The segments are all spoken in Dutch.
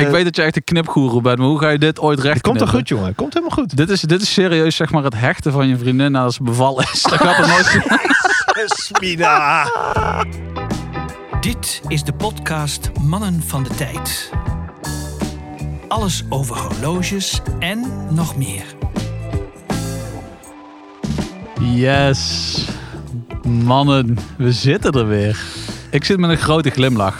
ik weet dat je echt een knipgoeroe bent, maar hoe ga je dit ooit recht Komt toch knippen? goed, jongen? Komt helemaal goed. Dit is, dit is serieus zeg maar het hechten van je vriendin nadat ze bevallen is. Dat gaat er nooit... Smida. Dit is de podcast Mannen van de Tijd. Alles over horloges en nog meer. Yes. Mannen, we zitten er weer. Ik zit met een grote glimlach.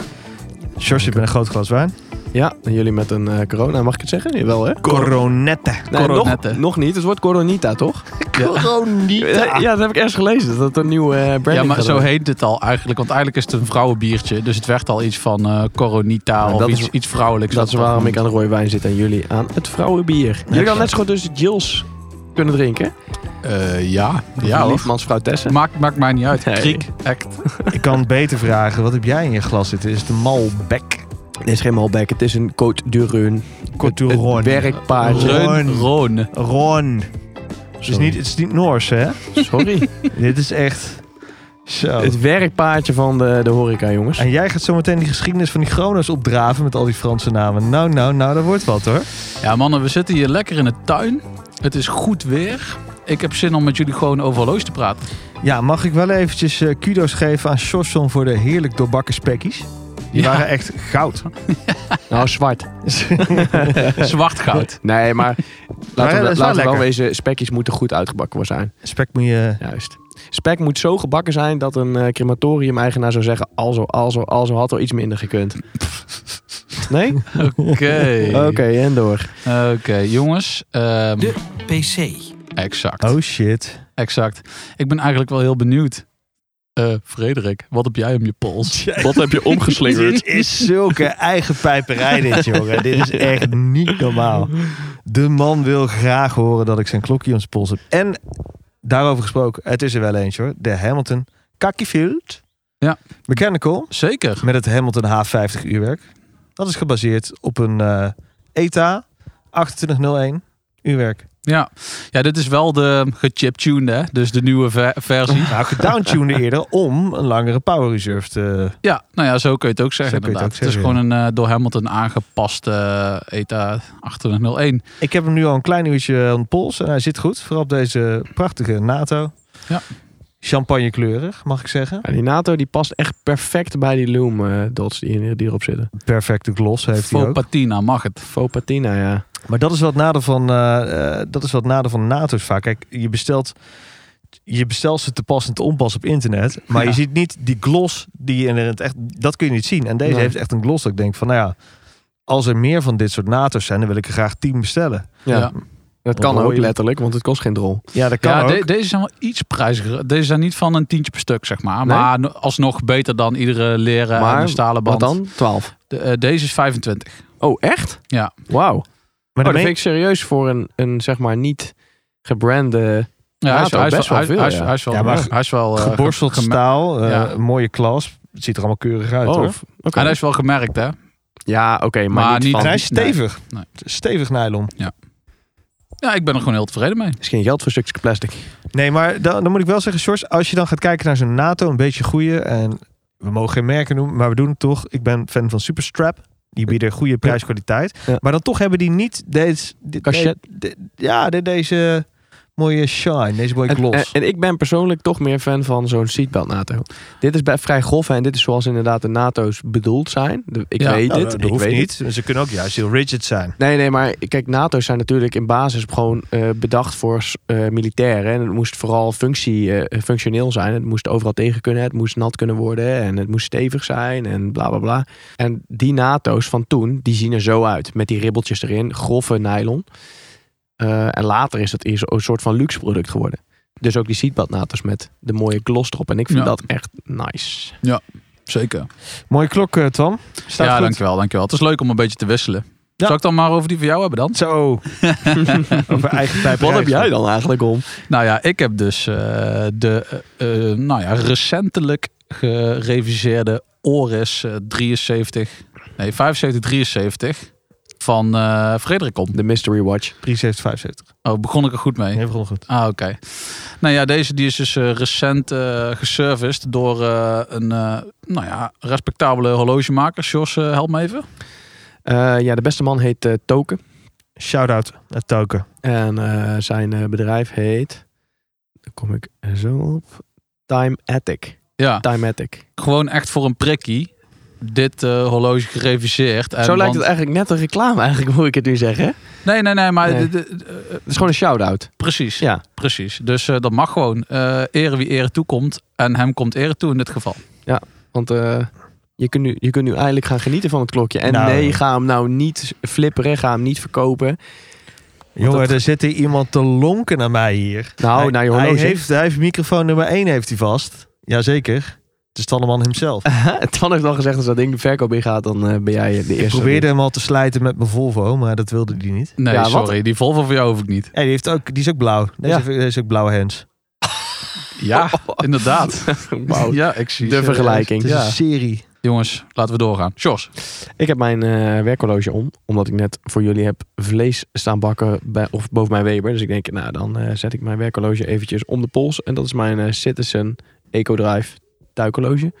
Sjors, ik ben een groot glas wijn. Ja, en jullie met een eh, corona, mag ik het zeggen? Jawel, hè? Coronette. Nee, coronette. nog, nog niet, het wordt coronita, toch? Ja, Coronita. dat heb ik ergens gelezen, dat het een nieuw eh branding ja, maar gaat zo worden. heet het al eigenlijk. Want eigenlijk is het een vrouwenbiertje. Dus het werd al iets van eh, coronita Ja, of dat iets, is- iets vrouwelijks. Dat is waarom ik aan de rode wijn zit en jullie aan het vrouwenbier. Jullie Ja. gaan net zo goed dus de Jills kunnen drinken. Eh, ja, ja Ja, hoor. Liefmansvrouw Tessen. Maakt, maakt mij niet uit. Nee. Kriek, echt. Ik kan beter vragen, wat heb jij in je glas zitten? Is het een Malbec? Dit is geen Malbec, het is een Côte du Rhône. Côte du Het- Rhône. Het werkpaardje. Reun, Roon. roon. Ron. Het is, Sorry. niet, het is niet Noors, hè? Sorry. Dit is echt... Zo. het werkpaardje van de, de horeca, jongens. En jij gaat zo meteen die geschiedenis van die Chronos opdraven met al die Franse namen. Nou, nou, nou, dat wordt wat hoor. Ja mannen, we zitten hier lekker in de tuin. Het is goed weer. Ik heb zin om met jullie gewoon over horloges te praten. Ja, mag ik wel eventjes eh, kudos geven aan Sjorson voor de heerlijk doorbakken spekkies? Die Ja. waren echt goud. Nou, zwart. Zwart goud. Nee, maar dat laten is we, wel laten we wel lekker. wezen, spekjes moeten goed uitgebakken zijn. Spek moet je... Juist. Spek moet zo gebakken zijn dat een eh, crematorium-eigenaar zou zeggen: Also, also, also had er iets minder gekund. Nee? Oké, Oké. Oké, en door. Oké, jongens. ehm, De PC. Exact. Oh shit. Exact. Ik ben eigenlijk wel heel benieuwd. Eh, Frederik, wat heb jij om je pols? Wat heb je omgeslingerd? Dit is zulke eigen pijperij dit, jongen. dit is echt niet normaal. De man wil graag horen dat ik zijn klokje om zijn pols heb. En daarover gesproken, het is er wel eentje hoor. De Hamilton Kakiefield. Ja. Mechanical. Zeker. Met het Hamilton H50 uurwerk. Dat is gebaseerd op een eh, ETA 2801 uurwerk. Ja. ja, dit is wel de gechiptuned, hè? Dus de nieuwe ver- versie. Nou, gedowntuned eerder om een langere power reserve te... Ja, nou ja, zo kun je het ook zeggen. Zo kun inderdaad. je het ook Het, is zeggen, gewoon een eh, door Hamilton aangepaste eh, ETA 801. Ik heb hem nu al een klein uurtje aan de pols en hij zit goed. Vooral op deze prachtige NATO. Ja. Champagnekleurig, mag ik zeggen. Ja, die NATO die past echt perfect bij die Loom eh, dots die, hier- die erop zitten. Perfecte gloss heeft hij Faux ook. patina, mag het. Faux patina, ja. Maar dat is wat nadeel van, eh, eh, dat is wat nadeel van NATO's vaak. Kijk, je bestelt, je bestelt ze te pas en te onpas op internet. Maar Ja. je ziet niet die gloss die je in het echt, dat kun je niet zien. En deze Nee. heeft echt een gloss dat ik denk van, nou ja, als er meer van dit soort NATO's zijn, dan wil ik er graag 10 bestellen. Ja. Ja. Dat kan Mooi. ook letterlijk, want het kost geen drol. Ja, dat kan Ja, ook. de- deze zijn wel iets prijziger. Deze zijn niet van een tientje per stuk, zeg maar. Nee? Maar no- alsnog beter dan iedere leren en Maar een stalen Wat band. dan? 12. De- eh, deze is 25. Oh, echt? Ja. maar Wauw. Maar de oh, dat me- vind ik serieus voor een, een zeg maar niet gebrande. Ja, hij is, Later, hij is best wel, wel hij- veel, hij is- ja. hij is wel, Ja, maar hij is wel eh, geborsteld gem- staal, eh, ja. een mooie klas. Het ziet er allemaal keurig uit Oh, hoor. f- oké. En hij is wel gemerkt, hè? Ja, oké, maar, Maar niet- niet, van- En hij Er is stevig. Nee. Stevig nylon. Ja, ik ben er gewoon heel tevreden mee. is geen geld voor stukjes plastic. Nee, maar dan, dan moet ik wel zeggen, Sjors, als je dan gaat kijken naar zo'n NATO, een beetje goede. En we mogen geen merken noemen, maar we doen het toch. Ik ben fan van Superstrap. Die bieden goede prijskwaliteit. Ja. Maar dan toch hebben die niet deze... dit- Cachet. dit- ja, de- deze mooie shine, deze mooie En, eh, gloss. en, en ik ben persoonlijk toch meer fan van zo'n seatbelt NATO. Dit is bij, vrij grof hè, en dit is zoals inderdaad de NATO's bedoeld zijn. De- ik Ja. weet Nou, dit. dat ik hoeft weet niet. het. Ze kunnen ook juist heel rigid zijn. Nee, nee, maar kijk, NATO's zijn natuurlijk in basis gewoon eh, bedacht voor s- eh, militairen. En het moest vooral functie, eh, functioneel zijn. Het moest overal tegen kunnen. Het moest nat kunnen worden. En het moest stevig zijn. En bla bla bla. En die NATO's van toen, die zien er zo uit. Met die ribbeltjes erin, grove nylon. Eh, en later is dat eerst een soort van luxe product geworden. Dus ook die seatbelt NATO's met de mooie gloss erop. En ik vind Ja. dat echt nice. Zeker. Mooie klok, eh, Tom. Staat ja, goed. dankjewel, dankjewel. Het is leuk om een beetje te wisselen. Zal ik dan maar over die van jou hebben dan? Zo. Over eigen pijp. Wat heb jij dan eigenlijk om? Nou ja, ik heb dus eh, de eh, eh, nou ja, recentelijk gereviseerde Oris eh, 73, nee 75, 73 van eh Fredericom. De Mystery Watch. 7375. Oh, begon ik er goed mee? Nee, begon goed. Ah, oké. Nou ja, deze die is dus eh, recent eh geserviced door eh, een eh, nou ja, respectabele horlogemaker. Jos, eh, help me even. Eh, ja, de beste man heet eh, Token. Shout-out naar Token. En eh, zijn eh, bedrijf heet. Daar kom ik zo op. Time Attic. Ja, Time Attic. gewoon echt voor een prikkie. Dit eh, horloge gereviseerd. En zo lijkt want- het eigenlijk net een reclame, eigenlijk moet ik het nu zeggen. Het Nee, nee, nee, maar Nee. dit- dit- eh, is gewoon een shout-out. precies. Ja. precies. Dus eh, dat mag gewoon. eh ere wie ere toekomt. En hem komt ere toe in dit geval. Want eh, je, kunt nu, je kunt nu eindelijk gaan genieten van het klokje. En Nou. nee, ga hem nou niet flipperen. Ga hem niet verkopen. Jongen, dat- er zit hier iemand te lonken naar mij hier. Nou, hij, naar je hij horloge. heeft, hij heeft microfoon nummer 1 heeft hij vast. Jazeker. Het is Tanneman hemzelf. Tan heeft al gezegd, als dat ding de verkoop ingaat, dan eh, ben jij de Ik eerste. probeerde hem al te slijten met mijn Volvo, maar dat wilde hij niet. Nee, Ja, wat? sorry. Die Volvo voor jou hoef ik niet. Hé, die, heeft ook, die is ook blauw. Deze, Ja. heeft- deze is ook blauwe hands. Ja, inderdaad. Wauw. Ja, ik zie De serieus. vergelijking. Het is Ja. een serie. Jongens, laten we doorgaan. Sjors. Ik heb mijn eh, werkhorloge om, omdat ik net voor jullie heb vlees staan bakken bij, of boven mijn Weber. Dus ik denk, nou dan eh, zet ik mijn werkhorloge eventjes om de pols. En dat is mijn eh, Citizen EcoDrive duikhorloge.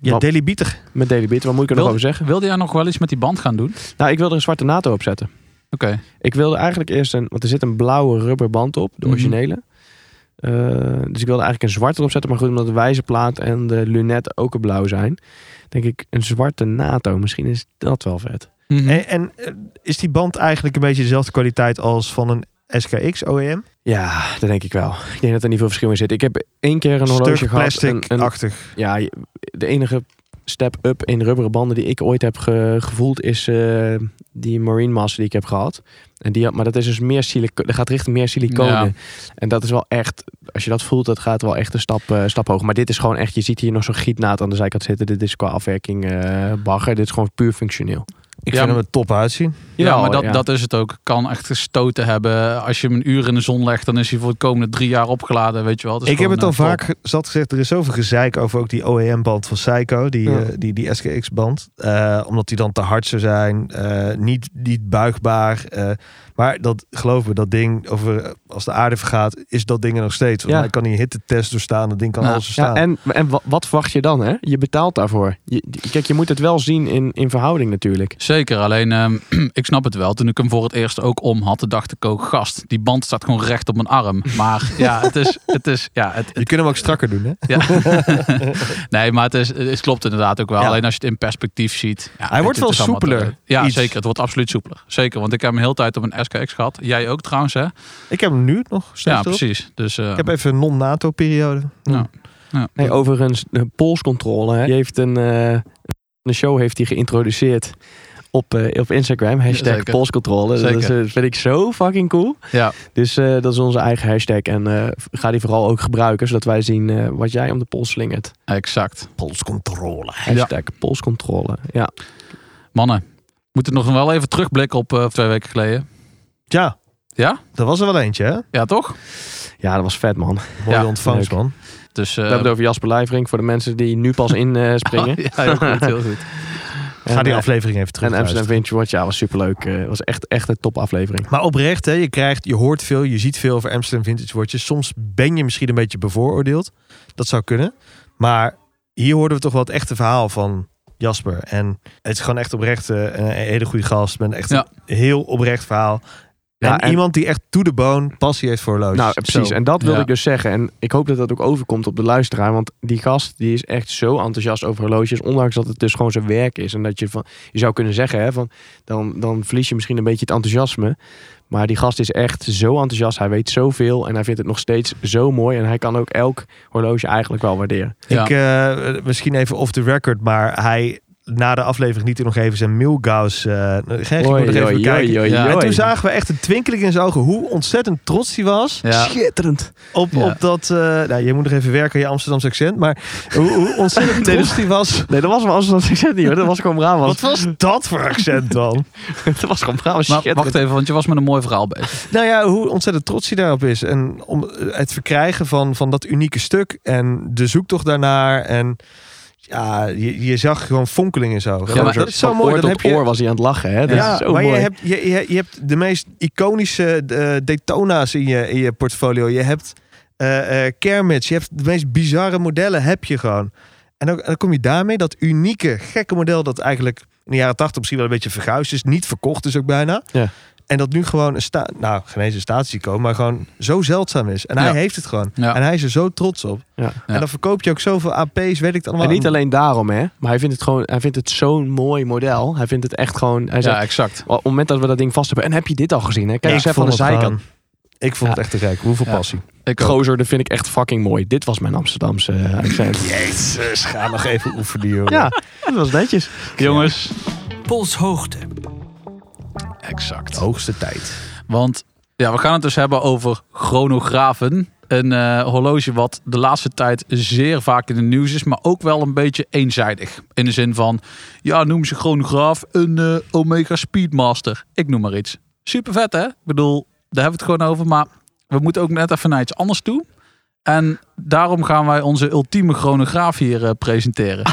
Ja, Wat- Daily Bieter. Met Daily Beat. Wat moet ik er nog Wil- over zeggen? Wilde jij nog wel iets met die band gaan doen? Nou, ik wil er een zwarte NATO op zetten. Oké. Ik wilde eigenlijk eerst een, want er zit een blauwe rubberband op, de Mhm. originele. Eh, dus ik wilde eigenlijk een zwarte erop zetten, maar goed, omdat de wijzerplaat en de lunet ook een blauw zijn, denk ik een zwarte NATO. Misschien is dat wel vet. Mhm. En, Hm. en eh, is die band eigenlijk een beetje dezelfde kwaliteit als van een SKX OEM? Ja, dat denk ik wel. Ik denk dat er niet veel verschil in zit. Ik heb één keer een horloge Stuk gehad. een- een- plastic-achtig. ja, je- de enige step-up in rubberen banden die ik ooit heb ge- gevoeld is eh, die Marine Master die ik heb gehad. En die, had- maar dat is dus meer silico- dat gaat richting meer siliconen. Ja. En dat is wel echt, als je dat voelt, dat gaat wel echt een stap, eh, stap hoger. Maar dit is gewoon echt, je ziet hier nog zo'n gietnaad aan de zijkant zitten. Dit is qua afwerking eh, bagger. Dit is gewoon puur functioneel. Ik Ja, vind hem maar- er top uitzien. Ja, maar Jawel, dat, ja. dat is het ook. Kan echt gestoten hebben. Als je hem een uur in de zon legt, dan is hij voor de komende drie jaar opgeladen. Weet je wel. Het Dus is Ik heb gewoon, het al eh, top. vaak ge- zat gezegd. Er is zoveel gezeik over ook die OEM-band van Seiko. Die, Ja. eh, die, die SKX-band. Eh, omdat die dan te hard zou zijn. eh, niet, niet buigbaar. eh, maar dat, geloof me, dat ding, over, eh, als de aarde vergaat, is dat ding er nog steeds. Want Ja. hij kan die hittetest doorstaan. Dat ding kan Nou, alles Ja, doorstaan. en en wa- wat verwacht je dan? Hè? Je betaalt daarvoor. Je, kijk, je moet het wel zien in, in verhouding natuurlijk. Zeker, alleen ehm, ik snap het wel. Toen ik hem voor het eerst ook om had, dacht ik ook, gast, die band staat gewoon recht op mijn arm. Maar ja, het is, het is, ja, het, je kunt hem ook strakker doen, hè? ja. Nee, maar het, is, het klopt inderdaad ook wel. Ja. Alleen als je het in perspectief ziet. ja, Hij het- wordt het wel is allemaal soepeler, te- Ja, iets. zeker. Het wordt absoluut soepeler. Zeker, want ik heb hem heel tijd op een SKX gehad. Jij ook trouwens, hè? Ik heb hem nu nog steeds Ja, erop. precies. Dus eh, Ik heb even een non-NATO-periode. Ja. Nee, overigens, de polscontrole. Hè, die heeft een, eh, een show heeft hij geïntroduceerd op, eh, op Instagram. Hashtag Zeker. polscontrole. Dat is, Zeker. eh, vind ik zo fucking cool. ja, Dus eh, dat is onze eigen hashtag. En eh, ga die vooral ook gebruiken, zodat wij zien eh, wat jij om de pols slingert. exact. Polscontrole. Hashtag polscontrole. Ja. Mannen, we moeten nog wel even terugblikken op eh, twee weken geleden. Ja. Ja? Dat was er wel eentje, hè? Ja, toch? ja, dat was vet man. Mooie Ja, ontvangst, man. Dus, We hebben het over Jasper Lijvering voor de mensen die nu pas in eh, springen. ja, heel goed, heel goed. En, Ga die eh, aflevering even terug. En Amsterdam Vintage Watch, ja, was superleuk. Eh was echt, echt een topaflevering. Maar oprecht, hè, je, krijgt, je hoort veel, je ziet veel over Amsterdam Vintage Watches. Soms ben je misschien een beetje bevooroordeeld. Dat zou kunnen. Maar hier hoorden we toch wel het echte verhaal van Jasper. En het is gewoon echt oprecht eh, een, een hele goede gast. Met echt Ja. een heel oprecht verhaal. Ja, en, en- iemand die echt to the bone passie heeft voor horloges. Nou, precies. Zo. En dat wilde Ja. ik dus zeggen. En ik hoop dat dat ook overkomt op de luisteraar. Want die gast die is echt zo enthousiast over horloges. Ondanks dat het dus gewoon zijn werk is. En dat je van, je zou kunnen zeggen, hè, van, dan, dan verlies je misschien een beetje het enthousiasme. Maar die gast is echt zo enthousiast. Hij weet zoveel. En hij vindt het nog steeds zo mooi. En hij kan ook elk horloge eigenlijk wel waarderen. Ja. Ik, eh, misschien even off the record, maar hij na de aflevering liet hij nog even zijn Milgauss. eh ging hij nog Oei, even oei, kijken. oei, oei, Ja. oei. En toen zagen we echt een twinkeling in zijn ogen hoe ontzettend trots hij was Ja. Schitterend. op, Ja. op dat... eh nou, je moet nog even werken aan je Amsterdamse accent, maar hoe, hoe ontzettend trots hij was. Nee, dat was wel Amsterdam succes niet hoor. Dat was gewoon Wat Brabant. was dat voor accent dan? Dat was gewoon Brabant. Maar Schitterend. wacht even, want je was met een mooi verhaal bezig. nou ja, hoe ontzettend trots hij daarop is. En om eh, het verkrijgen van, van dat unieke stuk en de zoektocht daarnaar en... Ja, je, je zag gewoon fonkeling in zijn ogen. Ja, maar dat is zo mooi. Dan Oor tot heb je, oor was hij aan het lachen. Hè? Dat Ja, is zo maar mooi. Je, hebt, je, je, je hebt de meest iconische eh, Daytona's in je, in je portfolio. Je hebt eh eh, Kermits. Je hebt de meest bizarre modellen heb je gewoon. En dan, dan kom je daarmee dat unieke, gekke model dat eigenlijk in de jaren tachtig misschien wel een beetje verguisd is. Niet verkocht is ook bijna. Ja. En dat nu gewoon een sta nou, geen eens een statiekomen, maar gewoon zo zeldzaam is. En hij Ja. heeft het gewoon. Ja. En hij is er zo trots op. Ja. Ja. En dan verkoop je ook zoveel AP's, weet ik het allemaal. En niet alleen daarom, hè. Maar hij vindt het gewoon, hij vindt het zo'n mooi model. Hij vindt het echt gewoon, hij zegt, Ja, exact. op het moment dat we dat ding vast hebben, en heb je dit al gezien, hè? Kijk Ja, eens ik even aan de vond het zijkant. gewoon- Ik vond het echt te gek. Hoeveel Ja. passie. Ik ook. Gozer, dat vind ik echt fucking mooi. Dit was mijn Amsterdamse eh, accent. Jezus, ga Eh, nog even oefenen, joh. Ja, dat was netjes. Jongens, polshoogte, exact. Hoogste tijd. Want ja, we gaan het dus hebben over chronografen. Een eh, horloge wat de laatste tijd zeer vaak in het nieuws is, maar ook wel een beetje eenzijdig. In de zin van, ja, noem ze chronograaf een eh, Omega Speedmaster. Ik noem maar iets. Super vet, hè? Ik bedoel, daar hebben we het gewoon over, maar we moeten ook net even naar iets anders toe. En daarom gaan wij onze ultieme chronograaf hier eh, presenteren.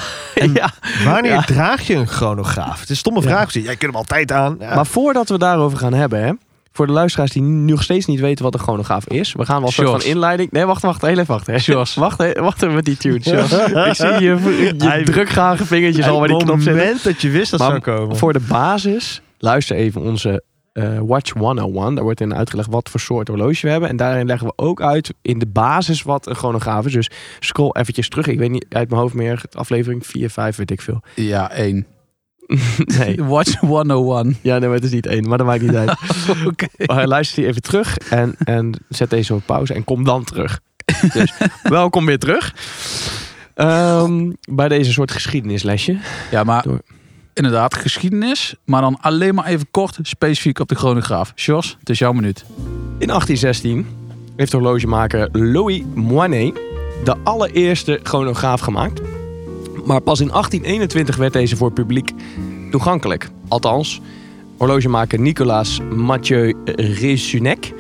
ja. Wanneer draag je een chronograaf? Het is een stomme Ja. vraag. Jij kunt hem altijd aan. Ja. Maar voordat we daarover gaan hebben, hè. Voor de luisteraars die nu nog steeds niet weten wat een chronograaf is. We gaan wel een soort van Sjors. inleiding. Nee, wacht, wacht. Heel even wachten. hè. Sjors. Wacht, hè, wacht even met die tune. Sjors. Ik zie je, je Hij- drukgrage vingertjes al bij die knop Het zitten. moment dat je wist dat Maar zou komen. Voor de basis, luister even onze eh, Watch 101. Daar wordt in uitgelegd wat voor soort horloge we hebben. En daarin leggen we ook uit in de basis wat een chronograaf is. Dus scroll eventjes terug. Ik weet niet uit mijn hoofd meer. Aflevering 4, 5, weet ik veel. Ja, één. Nee, Watch 101. ja, nee, maar het is niet één. Maar dat maakt niet uit. Oké. Maar luister die even terug en, en zet deze op pauze en kom dan terug. Dus welkom weer terug. Ehm, bij deze soort geschiedenislesje. Ja, maar Door. inderdaad, geschiedenis. Maar dan alleen maar even kort, specifiek op de chronograaf. Jos, het is jouw minuut. In 1816 heeft horlogemaker Louis Moinet de allereerste chronograaf gemaakt. Maar pas in 1821 werd deze voor publiek toegankelijk. Althans, horlogemaker Nicolaas Mathieu Ressunek,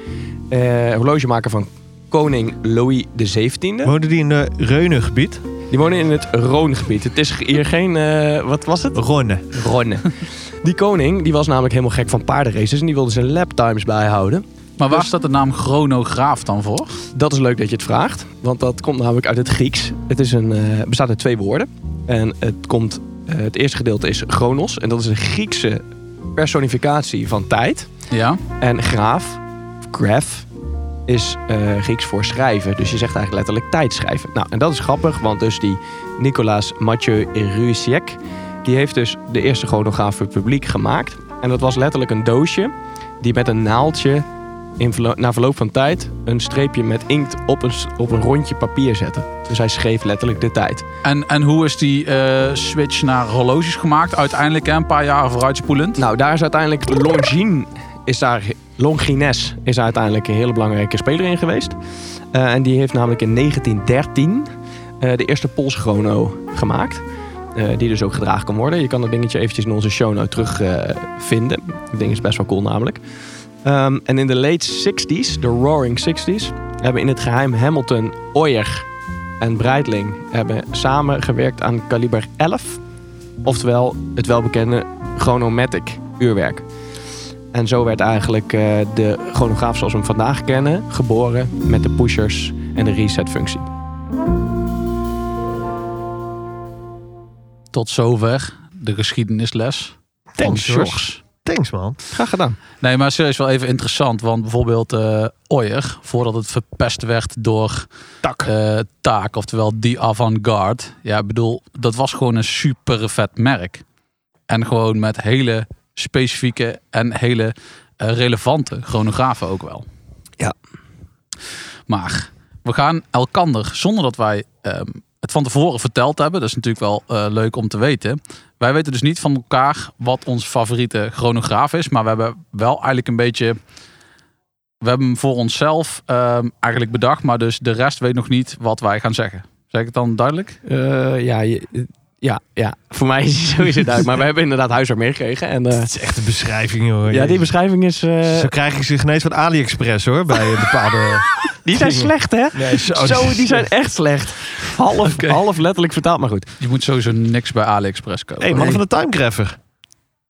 eh, horlogemaker van koning Louis XVII. Woonde die in eh, het Reunengebied? Die wonen in het Roongebied. Het is hier geen, eh, wat was het? Ronne. Rhône. Die koning die was namelijk helemaal gek van paardenraces en die wilde zijn laptimes bijhouden. Maar Dus- waar staat de naam chronograaf dan voor? Dat is leuk dat je het vraagt, want dat komt namelijk uit het Grieks. Het is een, eh, bestaat uit twee woorden. En het, komt, eh, het eerste gedeelte is chronos, en dat is een Griekse personificatie van tijd. Ja, En graaf, of graph, is eh, Grieks voor schrijven. Dus je zegt eigenlijk letterlijk tijd schrijven. Nou, en dat is grappig, want dus die Nicolaas Mathieu Rusiek... die heeft dus de eerste chronograaf voor het publiek gemaakt. En dat was letterlijk een doosje die met een naaldje... In verlo- na verloop van tijd een streepje met inkt op een, s- op een rondje papier zette. Dus hij schreef letterlijk de tijd. en, en hoe is die eh, switch naar horloges gemaakt? Uiteindelijk hè, een paar jaar vooruitspoelend. Nou, daar is uiteindelijk Longines is daar, Longines is daar uiteindelijk een hele belangrijke speler in geweest. Eh, en die heeft namelijk in 1913 eh, de eerste polschrono gemaakt. eh, die dus ook gedragen kan worden. Je kan dat dingetje eventjes in onze show note terugvinden. dat ding is best wel cool namelijk. Ehm, en in de late 60s, de Roaring 60s, hebben in het geheim Hamilton, Oyer en Breitling hebben samen gewerkt aan kaliber 11. Oftewel het welbekende chronomatic uurwerk. En zo werd eigenlijk eh, de chronograaf zoals we hem vandaag kennen, geboren met de pushers en de reset-functie. Tot zover de geschiedenisles. Thanks, van George. Jos. Thanks, man. Graag gedaan. Nee, maar serieus wel even interessant. Want bijvoorbeeld eh Oyer, voordat het verpest werd door Tak. eh, Taak, oftewel die avant-garde. Ja, ik bedoel, dat was gewoon een super vet merk. En gewoon met hele specifieke en hele eh, relevante chronografen ook wel. Ja. Maar we gaan elkander, zonder dat wij ehm, het van tevoren verteld hebben, dat is natuurlijk wel eh, leuk om te weten. Wij weten dus niet van elkaar wat ons favoriete chronograaf is, maar we hebben wel eigenlijk een beetje we hebben hem voor onszelf ehm, eigenlijk bedacht, maar dus de rest weet nog niet wat wij gaan zeggen. Zeg ik het dan duidelijk? Eh, ja, je- ja, ja, voor mij is het sowieso duidelijk. Maar we hebben inderdaad huiswerk meegekregen. En, eh, Dat is echt een beschrijving, hoor. ja, die beschrijving is... eh, Zo krijg ik ze ineens van AliExpress, hoor. Bij eh, bepaalde... die zijn slecht, hè? nee, Zo, oh, die zijn echt slecht. Half, Oké. half letterlijk vertaald, maar goed. Je moet sowieso niks bij AliExpress kopen. hey, man van de Timecraffer.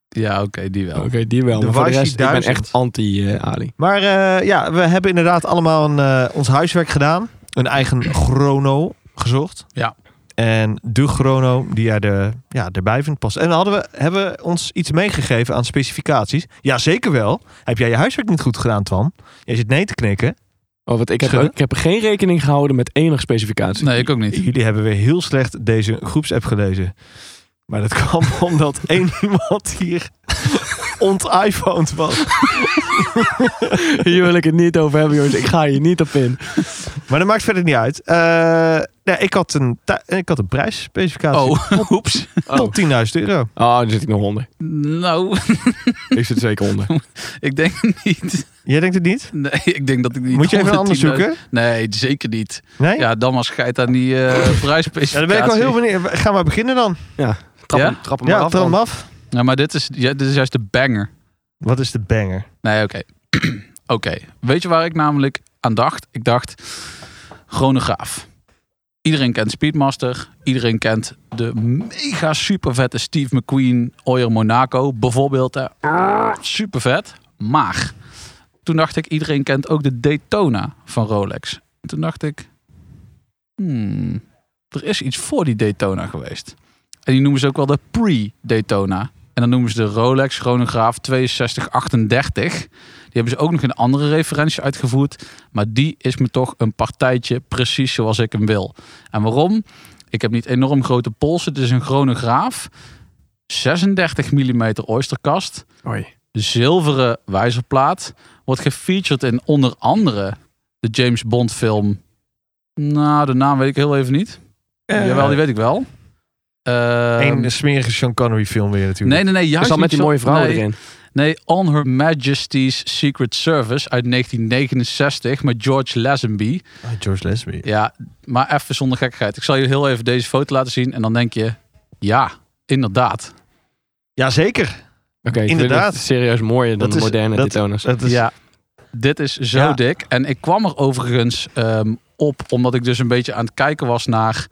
Ja, oké, die wel. Oké, die wel. De Maar voor de Washi rest, ik ben 1000. echt anti-Ali. Maar eh, ja, we hebben inderdaad allemaal een, eh, ons huiswerk gedaan. Een eigen chrono gezocht. Ja. En de chrono die jij er, ja, erbij vindt passen. En hadden we, hebben we ons iets meegegeven aan specificaties? Ja, zeker wel. Heb jij je huiswerk niet goed gedaan, Twan? Jij zit nee te knikken. Oh, wat ik, heb, Schudden? ik heb geen rekening gehouden met enige specificatie. Nee, ik ook niet. Jullie hebben weer heel slecht deze groepsapp gelezen. Maar dat kwam omdat één iemand hier ont-iPhoned was. Hier wil ik het niet over hebben, jongens. Ik ga hier niet op in. Maar dat maakt verder niet uit. Eh, nee, ik, had een tui- eh, ik had een prijsspecificatie Oh, oeps. Oh, tot 10.000 euro. oh dan zit ik nog onder. Nou, Ik zit zeker onder. ik denk het niet. Jij denkt het niet? Nee, ik denk dat ik niet. Moet je even een ander 110.000 zoeken? Nee, zeker niet. Nee? Ja, Ja, dan was geit aan die eh prijsspecificatie. dan ben ik wel heel benieuwd. Ga maar beginnen dan. Trap, Ja? hem, trap hem maar Ja, af. trap hem dan. af. Ja, maar dit is, ja, dit is juist de banger. Wat is de banger? Nee, oké. oké. Weet je waar ik namelijk aan dacht? Ik dacht, chronograaf. Iedereen kent Speedmaster. Iedereen kent de mega super vette Steve McQueen Oyer Monaco. Bijvoorbeeld, hè. super vet. Maar toen dacht ik, iedereen kent ook de Daytona van Rolex. Toen dacht ik, hmm, er is iets voor die Daytona geweest. En die noemen ze ook wel de pre-Daytona. En dan noemen ze de Rolex chronograaf 6238. Die hebben ze ook nog in een andere referentie uitgevoerd. Maar die is me toch een partijtje precies zoals ik hem wil. En waarom? Ik heb niet enorm grote polsen. Het is een chronograaf. 36 mm oysterkast. Oei. Zilveren wijzerplaat. Wordt gefeatured in onder andere de James Bond film. Nou, de naam weet ik heel even niet. Jawel, die weet ik wel. Ehm, Eén smerige Sean Connery film weer Nee, natuurlijk. nee, nee. Is Juist al met niet die zo- mooie vrouw nee, erin. Nee, On Her Majesty's Secret Service uit 1969 met George Lazenby. Ah, George Leslie. Ja, maar even zonder gekkigheid. Ik zal je heel even deze foto laten zien en dan denk je, ja, inderdaad. Jazeker. Oké, ik vind Inderdaad. het serieus mooier dan Dat de is- moderne dat- Daytona's. Dat is, Ja, dit is zo Ja. dik. En ik kwam er overigens ehm, op omdat ik dus een beetje aan het kijken was naar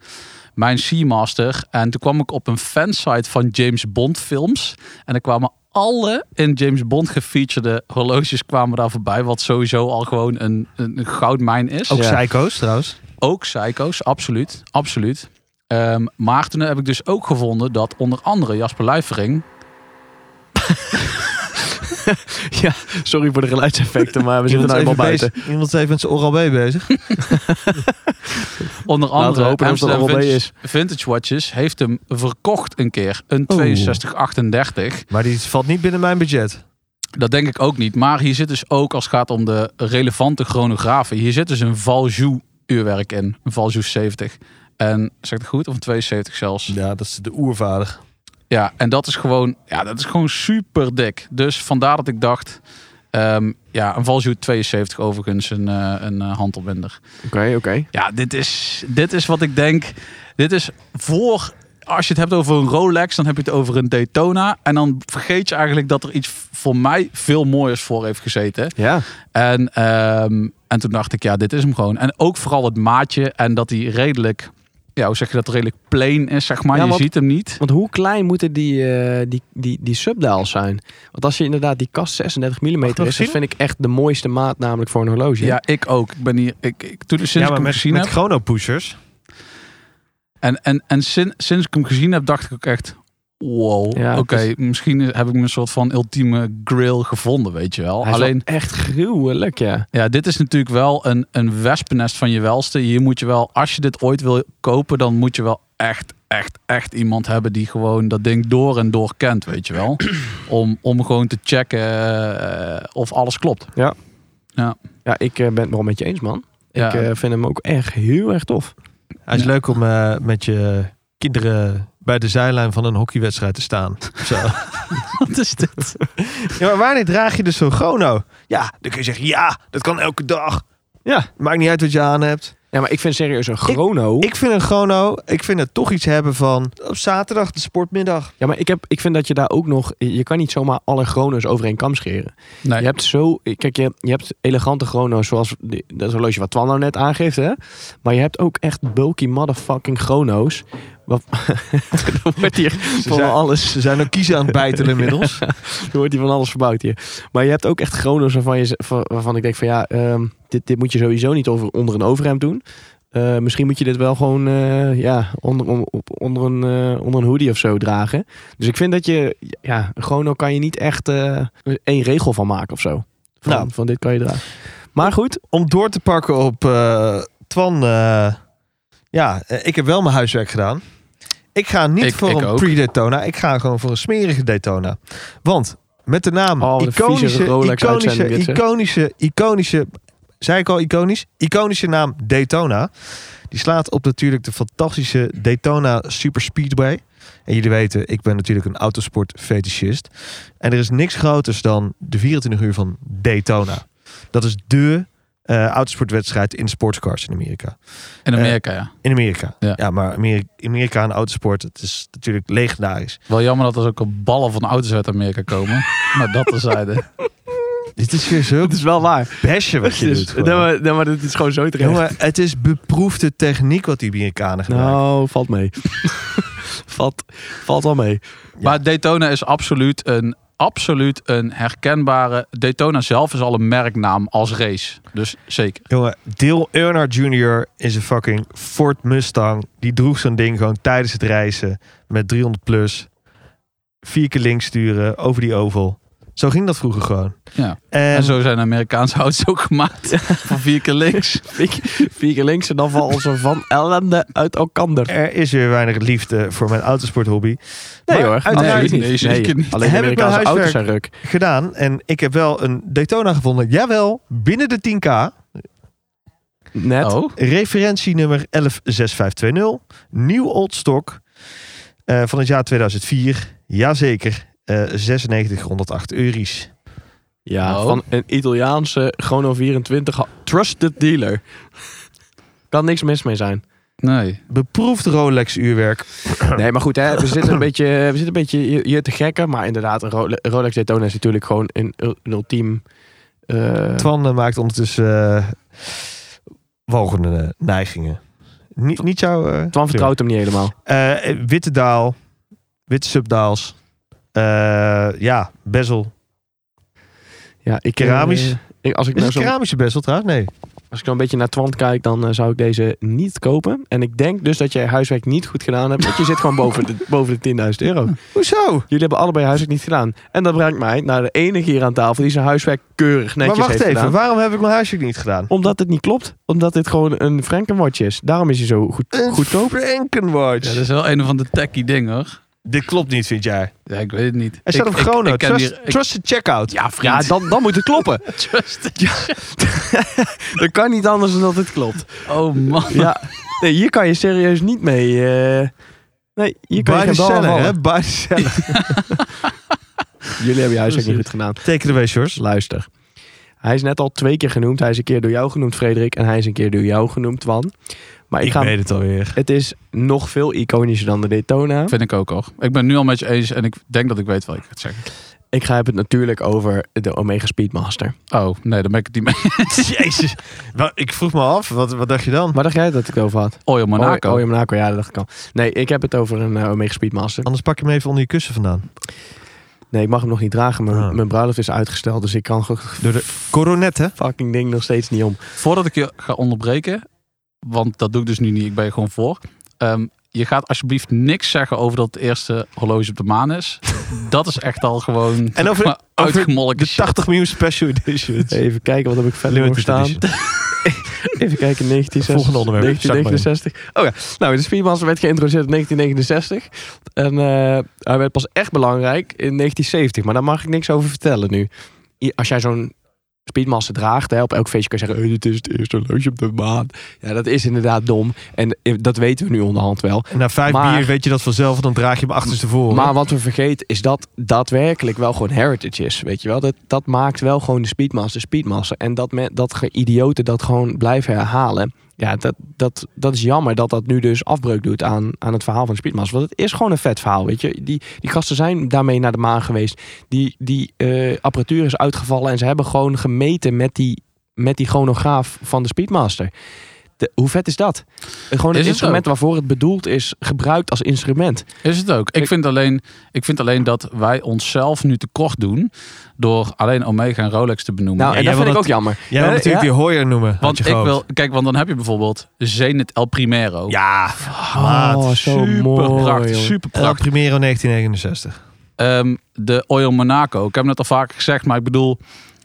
mijn Seamaster. En toen kwam ik op een fansite van James Bond films. En er kwamen alle in James Bond gefeaturede horloges kwamen daar voorbij. Wat sowieso al gewoon een, een, een goudmijn is. Ook Ja. psycho's trouwens. Ook psycho's, absoluut. absoluut. Ehm, maar toen heb ik dus ook gevonden dat onder andere Jasper Luifering... Sorry voor de geluidseffecten, maar we zitten nou even helemaal buiten. bezig- iemand is even met zijn oral B bezig. Onder Laten we andere hopen dat het Amsterdam een OLB vintage, is. vintage Watches heeft hem verkocht een keer. Een Oeh. 6238. Maar die valt niet binnen mijn budget. Dat denk ik ook niet. Maar hier zit dus ook, als het gaat om de relevante chronografen, hier zit dus een Valjou uurwerk in. Een Valjou 70. En zeg ik het goed? Of een 72 zelfs. Ja, dat is de oervader. Ja, en dat is gewoon, ja, dat is gewoon super dik. Dus vandaar dat ik dacht, ehm, ja, een Valjou 72 overigens, een, eh, een eh, handelbinder. Oké, oké. Ja, dit is, dit is wat ik denk. Dit is voor. Als je het hebt over een Rolex, dan heb je het over een Daytona. En dan vergeet je eigenlijk dat er iets voor mij veel mooiers voor heeft gezeten. Ja. En, ehm, en toen dacht ik, ja, dit is hem gewoon. En ook vooral het maatje en dat hij redelijk, ja, hoe zeg je dat, redelijk plain is, zeg maar. Ja, je want- ziet hem niet. Want hoe klein moeten die, eh, die, die, die subdials zijn? Want als je inderdaad die kast 36 mm is, ik nog dat zien? vind ik echt de mooiste maat namelijk voor een horloge. Ja, ik ook. Ik ben hier, ik, ik, toen, sinds Ja, ik maar hem met, gezien met heb. chrono pushers. En, en, en sin- sinds ik hem gezien heb, dacht ik ook echt, wow, Ja, oké, het misschien heb ik een soort van ultieme grill gevonden, weet je wel. Hij is wel Alleen, echt gruwelijk, ja. ja, dit is natuurlijk wel een, een wespennest van je welste. Hier moet je wel, als je dit ooit wil kopen, dan moet je wel echt, echt, echt iemand hebben die gewoon dat ding door en door kent, weet je wel. om, om gewoon te checken eh, of alles klopt. Ja, ik eh, ben het wel met je eens, man. Ja. Ik eh, vind hem ook echt heel erg tof. Hij is Ja. leuk om eh, met je kinderen bij de zijlijn van een hockeywedstrijd te staan. Zo. Wat is dit? Ja, maar wanneer draag je dus zo'n chrono? Ja, dan kun je zeggen, ja, dat kan elke dag. Ja, maakt niet uit wat je aan hebt. Ja, maar ik vind serieus een chrono. Ik vind een chrono, ik vind het toch iets hebben van op zaterdag de sportmiddag. ja, maar ik, heb, ik vind dat je daar ook nog... Je kan niet zomaar alle chrono's over één kam scheren. Nee, Je hebt zo, kijk, je, je hebt elegante chrono's zoals die- dat horloge wat Twan nou net aangeeft, hè. Maar je hebt ook echt bulky motherfucking chrono's. Wat, er wordt hier van zijn- alles, Ze zijn ook kiezen aan het bijten inmiddels. er wordt hier van alles verbouwd hier. Maar je hebt ook echt chrono's waarvan, je, z- van- waarvan ik denk van ja, ehm, dit, dit moet je sowieso niet over, onder een overhemd doen. Eh, eh, misschien moet je dit wel gewoon eh, ja, onder, om- op- onder, een, eh, onder een hoodie of zo dragen. Dus ik vind dat je, ja, chrono kan je niet echt eh, één regel van maken of zo. Van, Nou. van dit kan je dragen. Maar goed, Om door te pakken op eh, Twan. eh, ja, eh, ik heb wel mijn huiswerk gedaan. Ik ga niet Ik- voor ik een ook. pre-Daytona. Ik ga gewoon voor een smerige Daytona. Want met de naam Oh, wat een vieze iconische, Rolex iconische, uitzending dit, hè? iconische, iconische... Zei ik al iconisch? Iconische naam Daytona. Die slaat op natuurlijk de fantastische Daytona Super Speedway. En jullie weten, ik ben natuurlijk een autosport fetischist. En er is niks groters dan de 24 uur van Daytona. Dat is de eh, autosportwedstrijd in sportscars in Amerika. In eh, Amerika, ja. In Amerika. Ja, Ja. maar Amerika, Amerika en autosport, het is natuurlijk legendarisch. Wel jammer dat er ook al ballen van auto's uit Amerika komen. maar dat terzijde. Dit is weer zo nou, het is wel waar. besje wat je Dus- doet. gewoon. nee, maar, nee, maar dit is gewoon zo terecht. Jongen, het is beproefde techniek wat die Amerikanen gebruiken. nou, valt mee. valt, valt al mee. Maar Daytona is absoluut een, absoluut een herkenbare... Daytona zelf is al een merknaam als race. Dus zeker. Jongen, Dale Earnhardt Jr. is een fucking Ford Mustang. Die droeg zo'n ding gewoon tijdens het reizen met 300 plus. Vier keer links sturen over die oval. Zo ging dat vroeger gewoon. Ja. En, En zo zijn Amerikaanse auto's ook gemaakt. Van vier keer links. Vier, vier keer links en dan valt ze van ellende uit elkander. er is weer weinig liefde voor mijn autosporthobby. Nee Maar hoor, Uiteraard absoluut niet. zeker niet. Alleen de Heb ik mijn Amerikaanse auto's zijn huiswerk? ruk. gedaan. En ik heb wel een Daytona gevonden. Jawel, binnen de 10k. Net. Oh, Referentie nummer 116520. Nieuw Old Stock. eh, van het jaar 2004. Jazeker. eh 9608 euro's. Ja, Oh. van een Italiaanse Chrono 24 ha- trusted dealer. kan niks mis mee zijn. nee. Beproefd Rolex uurwerk. Nee, maar goed, hè, we zitten een beetje, we zitten een beetje hier- hier te gekken. Maar inderdaad, een Role- Rolex Daytona is natuurlijk gewoon een, ul- een ultiem... eh, Twan eh, maakt ondertussen eh walgende eh, neigingen. Niet, niet jouw... eh, Twan vertrouwt hem niet helemaal. Eh, eh, witte daal. Witte subdaals. Eh, ja, bezel. Ja, ik, Keramisch? eh, ik, als, ik Is nou het zo, keramische bezel trouwens? Nee. als ik nou een beetje naar Twan kijk, dan eh, zou ik deze niet kopen. En ik denk dus dat jij huiswerk niet goed gedaan hebt. Want je zit gewoon boven de, boven de 10.000 euro. Hoezo? Jullie hebben allebei huiswerk niet gedaan. En dat brengt mij naar de enige hier aan tafel die zijn huiswerk keurig netjes maar wacht heeft even, gedaan. waarom heb ik mijn huiswerk niet gedaan? Omdat het niet klopt. Omdat dit gewoon een Frankenwatch is. Daarom is hij zo goed. Goedkoop? Frankenwatch. Ja, dat is wel een van de techie dingen hoor. Dit klopt niet, vind jij? Ja, ik weet het niet. Er staat Ik- op ik- Chrono. ik ken trust, die- ik- trust the checkout. Ja, Ja, vriend. dan, dan moet het kloppen. dat kan niet anders dan dat het klopt. Oh man. Ja. Nee, hier kan je serieus niet mee. eh, Nee, hier kan Buy je the geen bal aan seller, hè? vallen. Buy the seller. Jullie hebben je huiswerk niet goed gedaan. Teken erbij, Sjors. Luister. Hij is net al twee keer genoemd. Hij is een keer door jou genoemd, Frederik. En hij is een keer door jou genoemd, Twan. Maar ik, ga... het alweer. Het is nog veel iconischer dan de Daytona. Vind ik ook al. Ik ben nu al met je eens en ik denk dat ik weet wat ik ga zeggen. Ik ga heb het natuurlijk over de Omega Speedmaster. Oh, nee, dan ben ik het niet mee. Jezus. Wel, ik vroeg me af, wat, wat dacht je dan? Waar dacht jij dat ik het over had? Oil Monaco. Oh, oh, ja, Monaco, ja, dat dacht ik al. Nee, ik heb het over een eh, Omega Speedmaster. Anders pak je hem even onder je kussen vandaan. Nee, ik mag hem nog niet dragen. Mijn, Ah. mijn bruiloft is uitgesteld, dus ik kan gewoon het Door de coronet, hè? fucking ding nog steeds niet om. Voordat ik je ga onderbreken, want dat doe ik dus nu niet, ik ben je gewoon voor. Ehm, je gaat alsjeblieft niks zeggen over dat het eerste horloge op de maan is. Dat is echt al gewoon En over de, over uitgemolken. de 80 miljoen special editions. Even kijken, wat heb ik verder nog Limited staan? edition. Even kijken, 1960. Volgende onderwerp, 1969. Oh ja, nou, de Speedmaster werd geïntroduceerd in 1969. En eh, hij werd pas echt belangrijk in 1970. Maar daar mag ik niks over vertellen nu. I- Als jij zo'n Speedmaster draagt, hè, op elk feestje kan je zeggen... "Eh, dit is het eerste horloge op de maan. Ja, dat is inderdaad dom. En eh, dat weten we nu onderhand wel. En na vijf Maar- bier weet je dat vanzelf, dan draag je hem achterstevoren. Maar wat we vergeten is dat daadwerkelijk wel gewoon heritage is. Weet je wel, dat, dat maakt wel gewoon de Speedmaster Speedmaster. En dat, me, dat ge- idioten dat gewoon blijven herhalen. Ja, dat, dat, dat is jammer dat dat nu dus afbreuk doet aan, aan het verhaal van de Speedmaster. Want het is gewoon een vet verhaal, weet je. Die, die gasten zijn daarmee naar de maan geweest. Die, die eh, apparatuur is uitgevallen en ze hebben gewoon gemeten met die, met die chronograaf van de Speedmaster. De- hoe vet is dat? Gewoon Is het het instrument waarvoor het bedoeld is, gebruikt als instrument. Is het ook. Ik vind, alleen, ik vind alleen dat wij onszelf nu tekort doen door alleen Omega en Rolex te benoemen. Nou, en, jij dat wil vind ik dat- ook jammer. Jij wil Ja, natuurlijk ja. die Hoyer noemen. had want je ik gehoopt. wil, kijk, want dan heb je bijvoorbeeld Zenit El Primero. Ja, Oh, maat. zo super. mooi. Prachtig, joh. super El prachtig. Primero 1969. Ehm, de Oil Monaco. Ik heb het net al vaker gezegd, maar ik bedoel,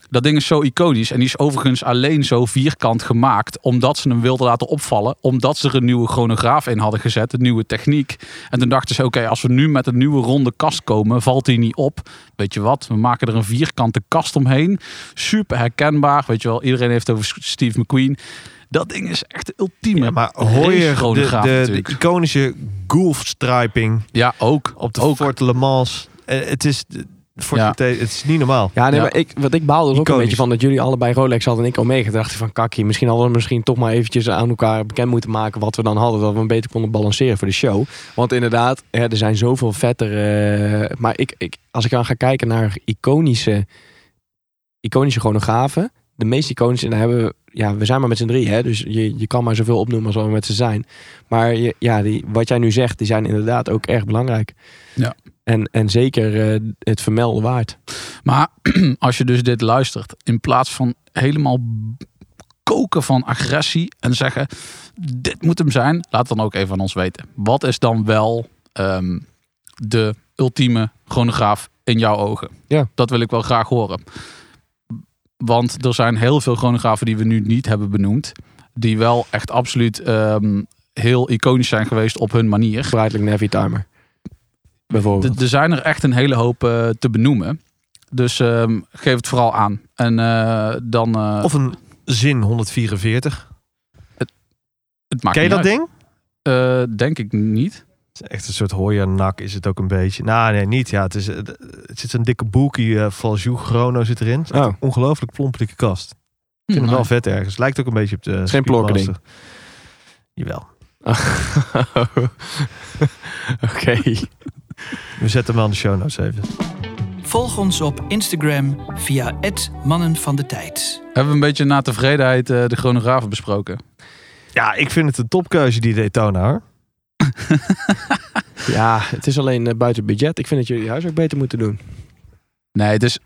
dat ding is zo iconisch. En die is overigens alleen zo vierkant gemaakt, omdat ze hem wilden laten opvallen. Omdat ze er een nieuwe chronograaf in hadden gezet, een nieuwe techniek. En toen dachten ze, oké, als we nu met een nieuwe ronde kast komen, valt die niet op. Weet je wat, we maken er een vierkante kast omheen. Super herkenbaar, weet je wel. Iedereen heeft het over Steve McQueen. Dat ding is echt de ultieme. Ja, maar Hoyer, de, de, racechoreograaf de natuurlijk. iconische golfstriping ja, ook. op de Ook. Fort Le Mans. Eh, het, is, Fort Ja. Mate- het is niet normaal. Ja, nee, Ja. maar ik, wat ik baalde er ook een Iconisch. beetje van dat jullie allebei Rolex hadden en ik Omega. Dacht ik van kakkie, misschien hadden we misschien toch maar eventjes aan elkaar bekend moeten maken wat we dan hadden. Dat we hem beter konden balanceren voor de show. Want inderdaad, hè, er zijn zoveel vettere... eh, maar ik, ik, als ik dan ga kijken naar iconische, iconische chronografen. De meest iconische, en daar hebben we... Ja, we zijn maar met z'n drie, hè, dus je, je kan maar zoveel opnoemen als wat we met ze zijn. Maar je, ja, die, wat jij nu zegt, die zijn inderdaad ook erg belangrijk. Ja. En, en zeker eh, het vermelden waard. Maar als je dus dit luistert, in plaats van helemaal b- koken van agressie en zeggen: dit moet hem zijn, laat het dan ook even aan ons weten. Wat is dan wel ehm, de ultieme chronograaf in jouw ogen? Ja. Dat wil ik wel graag horen. Want er zijn heel veel chronografen die we nu niet hebben benoemd, die wel echt absoluut ehm, heel iconisch zijn geweest op hun manier. Breitling Navy Timer. Bijvoorbeeld. D- Er zijn er echt een hele hoop eh, te benoemen. Dus ehm, geef het vooral aan. En eh, dan. eh, Of een Zin 144. het maakt Ken je niet dat uit. ding? Eh, denk ik niet. Het is echt een soort hooiernak is het ook een beetje. Nou, nee, niet. Ja, het, is, het het zit zo'n dikke boekie eh Valjou Chrono zit erin. Oh, het Ongelooflijk plompelijke kast. Ik Hm, vind hem wel nou, vet ergens. Lijkt ook een beetje op de... is geen Speedmaster. plorkerding. Jawel. Oké. We zetten hem aan de show notes even. Volg ons op Instagram via het Mannen van de Tijd. Hebben we een beetje na tevredenheid eh, de chronografen besproken? Ja, ik vind het een topkeuze die Daytona hoor. Ja, het is alleen eh, buiten budget. Ik vind dat jullie huis ook beter moeten doen. Nee, het is.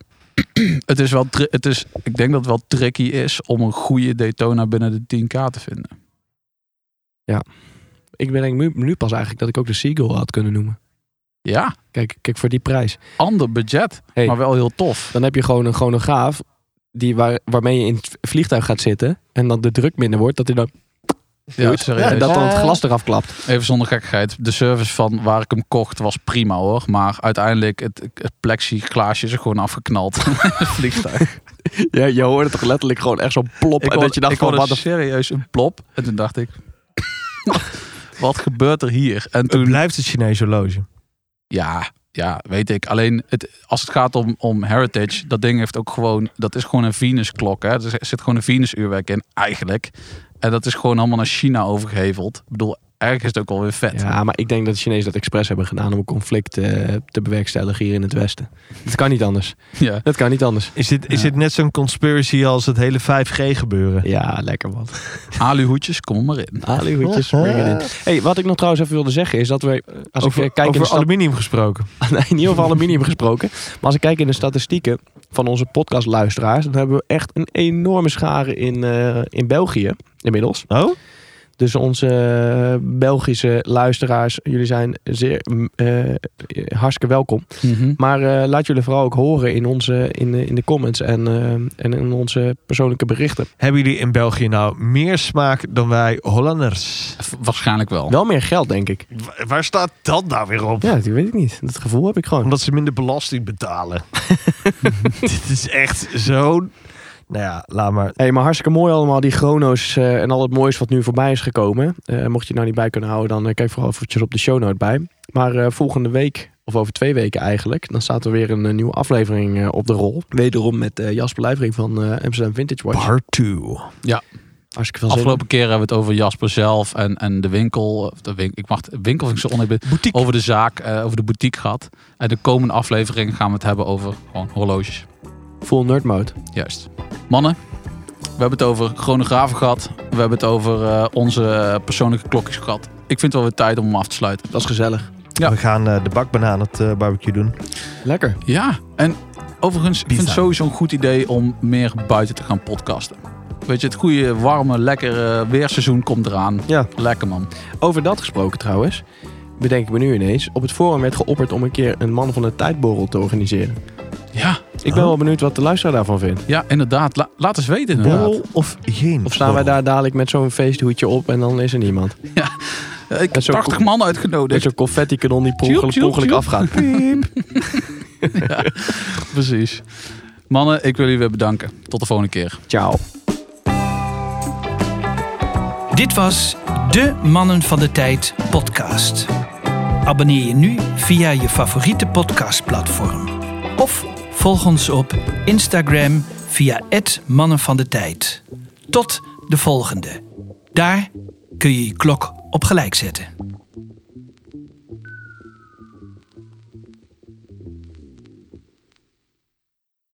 Het is wel. tri- Het is, ik denk dat het wel tricky is om een goede Daytona binnen de 10k te vinden. Ik ben denk nu, nu pas eigenlijk dat ik ook de Seagull had kunnen noemen. Ja, Kijk, kijk voor die prijs. ander budget, Hey. maar wel heel tof. Dan heb je gewoon een chronograaf die waar, waarmee je in het vliegtuig gaat zitten en dat de druk minder wordt, dat hij dan, Ja, serieus. en dat dan het glas eraf klapt. Even zonder gekkigheid. De service van waar ik hem kocht was prima hoor. Maar uiteindelijk, het, het plexiglaasje is er gewoon afgeknald. Het vliegtuig. Ja, je hoorde toch letterlijk gewoon echt zo'n plop en dat je dacht ik van hoorde wat de f- serieus een plop. En toen dacht ik, wat gebeurt er hier? En Het toen, blijft het Chinese horloge. ja, ja, weet ik. Alleen het, als het gaat om, om heritage, dat ding heeft ook gewoon, dat is gewoon een Venus klok. Hè? Er zit gewoon een Venus uurwerk in eigenlijk. En dat is gewoon allemaal naar China overgeheveld. Ik bedoel, ergens is het ook alweer vet. Ja, Ah, maar ik denk dat de Chinezen dat expres hebben gedaan om een conflict eh, te bewerkstelligen hier in het Westen. Het kan niet anders. ja. Het kan niet anders. Is dit, is Ja. dit net zo'n conspiracy als het hele 5G gebeuren? Ja, lekker man. Aluhoedjes, kom er maar in. Aluhoedjes, bring it in. Hey, wat ik nog trouwens even wilde zeggen is dat we, als over ik eh, kijk in de over stat- aluminium gesproken. nee, niet over aluminium gesproken, maar als ik kijk in de statistieken van onze podcastluisteraars, dan hebben we echt een enorme schare in, eh, in België inmiddels. Oh? Dus onze eh, Belgische luisteraars, jullie zijn zeer mm, eh, eh, hartstikke welkom. Mhm. Maar eh, laat jullie vooral ook horen in, onze, in, eh, in de comments en, eh, en in onze persoonlijke berichten. Hebben jullie in België nou meer smaak dan wij Hollanders? V- Waarschijnlijk wel. Wel meer geld, denk ik. Wa- Waar staat dat nou weer op? Ja, dat weet ik niet. Dat gevoel heb ik gewoon. Omdat ze minder belasting betalen. Dit is echt zo'n... Nou ja, laat maar. Hey, maar hartstikke mooi allemaal, die chrono's eh, en al het moois wat nu voorbij is gekomen. Eh, mocht je het nou niet bij kunnen houden, dan eh, kijk vooral eventjes op de show note bij. Maar eh, volgende week, of over twee weken eigenlijk, dan staat er weer een, eh, nieuwe aflevering eh, op de rol. Wederom met eh, Jasper Lijvering van eh, Amsterdam Vintage Watch. Part 2. Hartstikke veel zin in. Afgelopen keer hebben we het over Jasper zelf en, en de winkel. of De win- ik mag de winkel vind ik zo oneerbiedig. Boutique. Over de zaak, eh, over de boutique gehad. En de komende aflevering gaan we het hebben over gewoon horloges. Full nerd mode. Juist. Mannen, We hebben het over chronografen gehad. We hebben het over eh, onze persoonlijke klokjes gehad. Ik vind het wel weer tijd om hem af te sluiten. Dat is gezellig. Ja. We gaan eh, de bakbanaan het eh, barbecue doen. Lekker. Ja, en overigens, ik vind Pizza. het sowieso een goed idee om meer buiten te gaan podcasten. Weet je, het goede, warme, lekkere weerseizoen komt eraan. Ja. Lekker man. Over dat gesproken trouwens, bedenk ik me nu ineens. Op het forum werd geopperd om een keer een man van de tijdborrel te organiseren. Ja, Ik ben wel benieuwd wat de luisteraar daarvan vindt. ja inderdaad. La- laat eens weten inderdaad. Borrel of geen? Of staan wij borrel? daar dadelijk met zo'n feesthoedje op en dan is er niemand. Eh, Ik heb Dat is ook 80 goed. man Met uitgenodigd. zo'n confetti-kanon die per Tjoep, ongeluk- per tjoep, ongeluk tjoep. afgaat. Precies. Mannen, ik wil jullie weer bedanken. Tot de volgende keer. Ciao. Dit was de Mannen van de Tijd podcast. Abonneer je nu via je favoriete podcastplatform. Of volg ons op Instagram via het Mannen van de Tijd. Tot de volgende. Daar kun je je klok op gelijk zetten.